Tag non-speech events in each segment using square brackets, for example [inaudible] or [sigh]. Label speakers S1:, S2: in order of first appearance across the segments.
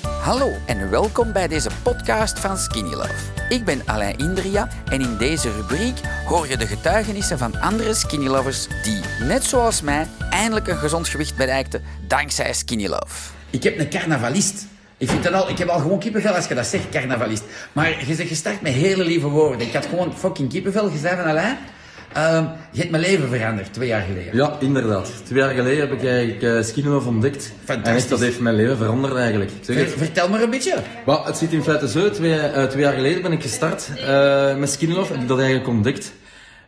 S1: Hallo en welkom bij deze podcast van Skinny Love. Ik ben Alain Indria en in deze rubriek hoor je de getuigenissen van andere Skinny Lovers die, net zoals mij, eindelijk een gezond gewicht bereikten dankzij Skinny Love.
S2: Ik heb een carnavalist. Ik, vind dat al, ik heb al gewoon kippenvel als je dat zegt, carnavalist. Maar je zegt gestart met hele lieve woorden. Ik had gewoon fucking kippenvel gezegd van Alain. ehm, je hebt mijn leven veranderd twee jaar geleden.
S3: Ja, inderdaad. Twee jaar geleden heb ik eigenlijk eh Skinny Love ontdekt. En
S2: Fantastisch.
S3: echt, dat heeft mijn leven veranderd eigenlijk. Ik Zeg
S2: Ver-
S3: het.
S2: vertel maar een beetje.
S3: Maar het zit in feite zo. Twee, eh, twee jaar geleden ben ik gestart eh, met Skinny Love. Heb ik dat eigenlijk ontdekt.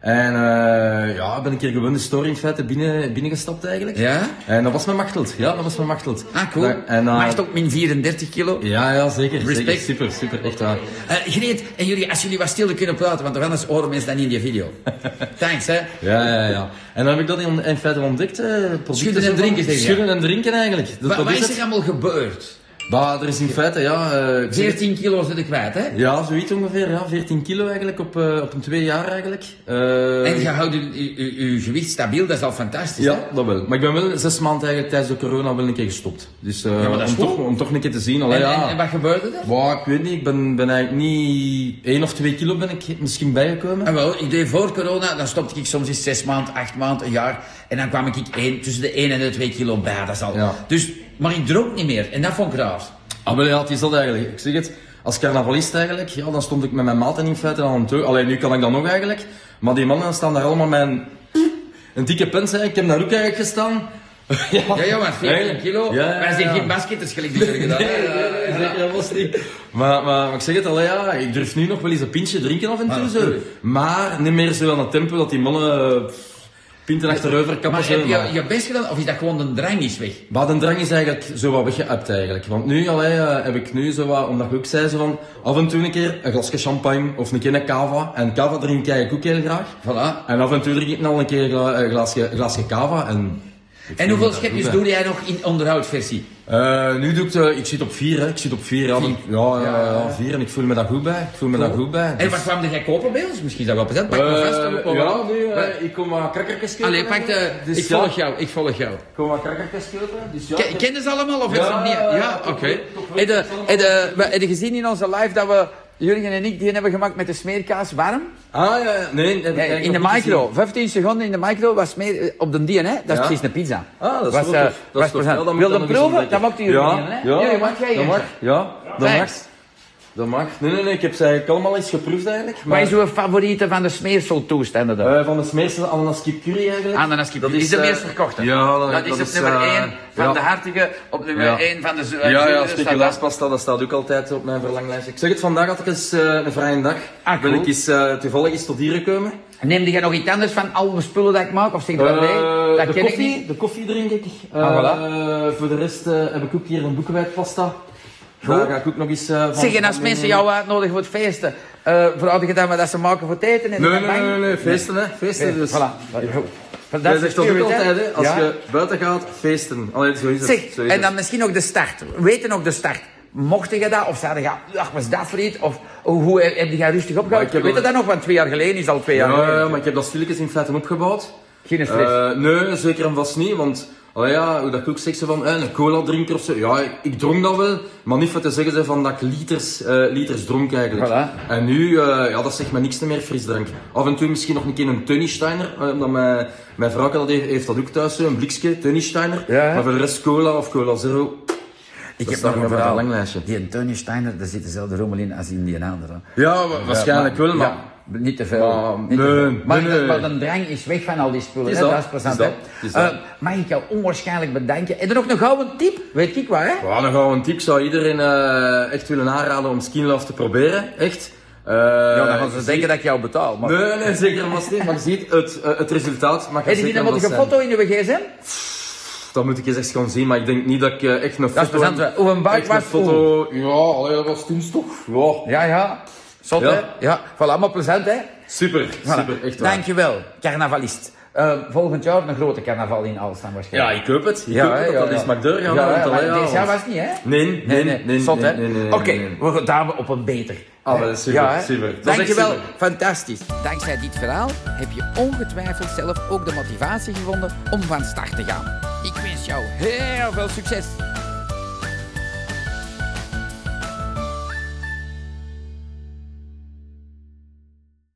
S3: En eh, ja, ben ik hier gewoon de story in feite binnen, binnengestapt eigenlijk.
S2: Ja?
S3: En dat was mijn machteld. Ja, dat was mijn machteld.
S2: Ah, cool.
S3: Dat- En, eh,
S2: Macht op min 34 kilo.
S3: Ja, ja, zeker. zeker.
S2: Respect.
S3: Super, super. Echt waar.
S2: Eh, Greet, en jullie, als jullie wat stiller kunnen praten, want anders horen mensen dat niet in die video.
S3: [laughs]
S2: Thanks, hè.
S3: Ja, ja, ja. En dan heb ik dat in, in feite ontdekt. eh, producten
S2: Schudden en
S3: zo van-
S2: drinken, zeg je.
S3: Schudden en drinken eigenlijk. Dat,
S2: Wa-
S3: dat
S2: wat
S3: is
S2: is
S3: het.
S2: er allemaal gebeurd?
S3: Bah, er is in feite, ja... eh, ik zeg het-
S2: 14 kilo zit ik kwijt, hè?
S3: Ja, zoiets ongeveer. Ja. 14 kilo eigenlijk op, eh, op een twee jaar eigenlijk. Eh,
S2: En je houdt je, je- je gewicht stabiel, dat is al fantastisch, hè?
S3: Ja, dat wel. Maar ik ben wel zes maanden eigenlijk tijdens de corona wel een keer gestopt. Dus eh,
S2: maar dat is
S3: om,
S2: goed.
S3: toch, om toch een keer te zien. Allee,
S2: En,
S3: ja.
S2: en, en wat gebeurde er?
S3: Bah, ik weet niet, ik ben, ben eigenlijk niet... 1 of 2 kilo ben ik misschien bijgekomen.
S2: Ah, wel, ik deed voor corona, dan stopte ik soms eens zes maanden, acht maanden, een jaar. En dan kwam ik één, tussen de 1 en de 2 kilo bij, dat is al.
S3: Ja.
S2: Dus, maar ik dronk niet meer, en dat vond ik raar.
S3: Ah, wel ja, het is dat eigenlijk. Ik zeg het, als carnavalist eigenlijk, ja, dan stond ik met mijn maten in feite aan het deur. Alleen nu kan ik dat nog eigenlijk. Maar die mannen staan daar allemaal met een, een dikke pens. hè. Ik heb daar ook eigenlijk gestaan. ja,
S2: Ja, ja, maar 14
S3: Eigenlijk.
S2: kilo,
S3: Ja, ja,
S2: wij zijn
S3: ja.
S2: geen basketters gelijk die jullie gedaan hebben.
S3: [laughs] Nee, zeker, dat was niet. Maar, maar, maar ik zeg het al, ja, ik durf nu nog wel eens een pintje drinken af en
S2: Ah,
S3: toe. zo.
S2: natuurlijk.
S3: Maar niet meer zo aan het tempo dat die mannen eh, pinten achterover kappen.
S2: Maar heb
S3: zo,
S2: je
S3: maar-
S2: je best gedaan, of is dat gewoon de drang is weg?
S3: Maar de drang is eigenlijk zo wat weggeëpt eigenlijk. Want nu allee, eh, heb ik nu zo wat, omdat ik ook zei, zo van af en toe een keer een glasje champagne of een keer een cava. En cava drink ik eigenlijk ook heel graag.
S2: Voilà.
S3: En af en toe drink ik nog een keer gla- een glaasje, een glaasje cava. En,
S2: En hoeveel
S3: dat
S2: schepjes
S3: goed, hè.
S2: doe jij nog in onderhoudversie?
S3: Eh, nu doe ik de, ik zit op vier, hè. ik zit op vier. Ja,
S2: Vier.
S3: Ja, ja,
S2: Ja.
S3: ja, vier en ik voel me daar goed bij. Ik voel me daar goed bij.
S2: En wat
S3: Dus-
S2: kwam er jij kopen bij ons? Misschien is dat wel present. Pak maar
S3: Eh,
S2: vast. dan ook wel
S3: ja,
S2: wat.
S3: nu, eh,
S2: Wat?
S3: ik kom maar kakkerkes kopen.
S2: Allee, pak de...
S3: Dus
S2: ik
S3: ja,
S2: volg jou, ik volg jou.
S3: Ik kom maar kakkerkes kopen. Dus ja,
S2: Ken- Kennen ze allemaal of is
S3: Ja,
S2: het nog niet? Ja,
S3: toch
S2: oké.
S3: wel, toch wel.
S2: Heb je- heb je- we- Heb je gezien in onze live dat we, Jurgen en ik, die hebben gemaakt met de smeerkaas warm?
S3: Ah, ja, ja. nee. heb
S2: Nee,
S3: ik eigenlijk
S2: in de
S3: nog niet
S2: micro.
S3: gezien.
S2: 15 seconden in de micro was smeer, eh, op de dien, hè? Dat is
S3: Ja.
S2: precies een pizza.
S3: Ah, dat is
S2: was,
S3: wel
S2: eh,
S3: tof. Dat
S2: was
S3: is tof.
S2: present.
S3: Ja, dan
S2: Wil
S3: moet ik
S2: je
S3: nog eens
S2: proeven? Dat
S3: ontdekken.
S2: mag jullie
S3: ja,
S2: niet, hè?
S3: Ja,
S2: Jullie mag jij
S3: dat
S2: eerst.
S3: mag. Ja, dat
S2: Thanks.
S3: mag. Dat mag. Nee, nee, nee. Ik heb ze eigenlijk allemaal eens geproefd eigenlijk.
S2: Wat is
S3: maar,
S2: uw favoriete van de smeerseltoestanden dan?
S3: eh, van de smeerse ananas kip curry eigenlijk.
S2: Ananas kip.
S3: Dat
S2: Ah, is de
S3: eh,
S2: meest verkochte.
S3: Ja,
S2: dat, is op nummer
S3: eh,
S2: 1 van
S3: ja.
S2: de hartige, op nummer
S3: Ja.
S2: 1 van de eh, zu-
S3: Ja,
S2: zure
S3: ja,
S2: staat
S3: speculaaspasta, dat staat ook altijd op mijn verlanglijst. Ik zeg het, vandaag had ik eens eh, een vrije dag.
S2: Ah,
S3: ben
S2: cool.
S3: ik eens, eh, toevallig eens tot hier gekomen.
S2: dat. Neem jij nog iets anders van al de spullen dat ik maak? Of zeg je van nee,
S3: Eh,
S2: dat
S3: de,
S2: ken
S3: koffie,
S2: ik niet?
S3: de koffie drink ik.
S2: Ah, voilà.
S3: Eh, voor de rest eh, heb ik ook hier een boekenwijdpasta. Daar ga ik ook nog eens eh, van...
S2: Zeg, en als
S3: van
S2: mensen
S3: meenemen.
S2: jou uitnodigen voor het feesten, eh verhouden je dan wat dat ze maken voor het eten? En
S3: Nee,
S2: de
S3: nee,
S2: campagne?
S3: nee, nee, feesten hè, feesten dus.
S2: Voilà.
S3: Jij zegt dat ook
S2: spirit, hè?
S3: altijd hè, als
S2: Ja.
S3: je buiten gaat, feesten. Allee, zo is het.
S2: Zeg,
S3: zo is
S2: en
S3: het.
S2: dan misschien ook de start. Weten ook de start. Mocht je dat, of zeiden je, ach, was dat voor iets? Of hoe, hoe heb je dat rustig
S3: Maar
S2: opgehouden?
S3: ik heb
S2: Weet je
S3: al-
S2: dat nog? Want twee jaar geleden is al twee jaar
S3: Ja,
S2: geleden.
S3: ja, maar ik heb dat stilletjes in feite opgebouwd.
S2: Geen stress.
S3: Eh, nee, zeker en vast niet, want allee, ja, hoe dat ik ook zeg, zo van, eh, een cola drinker of zo, ja, ik, ik dronk dat wel, maar niet voor te zeggen zo van dat ik liters, eh, liters dronk eigenlijk.
S2: Voilà.
S3: En nu, eh, ja, dat zegt me niks meer, frisdrank. Af en toe misschien nog een keer een Tunnesteiner, eh, omdat mijn, mijn vrouw dat heeft, heeft dat ook thuis, zo, een blikje Tunnesteiner.
S2: Ja, hè?
S3: maar voor de rest cola of cola zero.
S2: Ik
S3: staat nog op mijn verlanglijstje.
S2: Die en Tony Steiner, daar zit dezelfde rommel in als in die andere.
S3: Ja, wa- waarschijnlijk wel, maar...
S2: Ja, niet te veel.
S3: Maar,
S2: niet te
S3: nee,
S2: veel. maar,
S3: nee, nee.
S2: maar de drang is weg van al die spullen.
S3: Is
S2: hè?
S3: dat,
S2: dat is plezant.
S3: is dat,
S2: hè?
S3: is dat.
S2: Eh, mag ik jou onwaarschijnlijk bedanken? En dan ook nog gauw een tip, weet ik waar, hè?
S3: Ja, dan gaan we een tip. Ik zou iedereen eh, echt willen aanraden om Skin Love te proberen. Echt. Eh,
S2: ja, dan gaan ze denken dat ik jou betaal. Maar...
S3: Nee, nee, zeker was niet. Maar je ziet het, eh, het resultaat. Mag
S2: Heb je niet
S3: zeker
S2: een
S3: wel
S2: mottige
S3: zijn.
S2: foto in uw gsm?
S3: Dat moet ik eens echt gaan zien, maar ik denk niet dat ik eh, echt een
S2: Dat is
S3: foto...
S2: plezant. hè? Hoe een buik
S3: echt een
S2: was. oeh.
S3: foto... Ja, allee, dat was toen toch. Ja.
S2: Ja, ja. Zot,
S3: Ja.
S2: hè? Ja, voilà, maar plezant, hè?
S3: Super, super,
S2: Voilà.
S3: echt waar.
S2: Dankjewel, carnavalist. Eh, volgend jaar een grote carnaval in Alstaan
S3: Ja,
S2: waarschijnlijk.
S3: ik hoop het. Ik
S2: Ja,
S3: hoop
S2: hè,
S3: het dat
S2: ja,
S3: dat
S2: ja.
S3: eens mag doorgaan.
S2: Ja,
S3: want
S2: ja,
S3: allee,
S2: maar
S3: ja,
S2: deze jaar was
S3: want-
S2: het niet, hè?
S3: Nee, nee, nee. nee, nee,
S2: Zot, hè?
S3: nee, nee, nee,
S2: Oké,
S3: nee, nee.
S2: we gaan we op een beter.
S3: Ah,
S2: Hè?
S3: wel, super,
S2: Ja, hè?
S3: super. Dat is echt
S2: Dankjewel,
S3: super.
S2: fantastisch.
S1: Dankzij dit verhaal heb je ongetwijfeld zelf ook de motivatie gevonden om van start te gaan. Ik wens jou heel veel succes!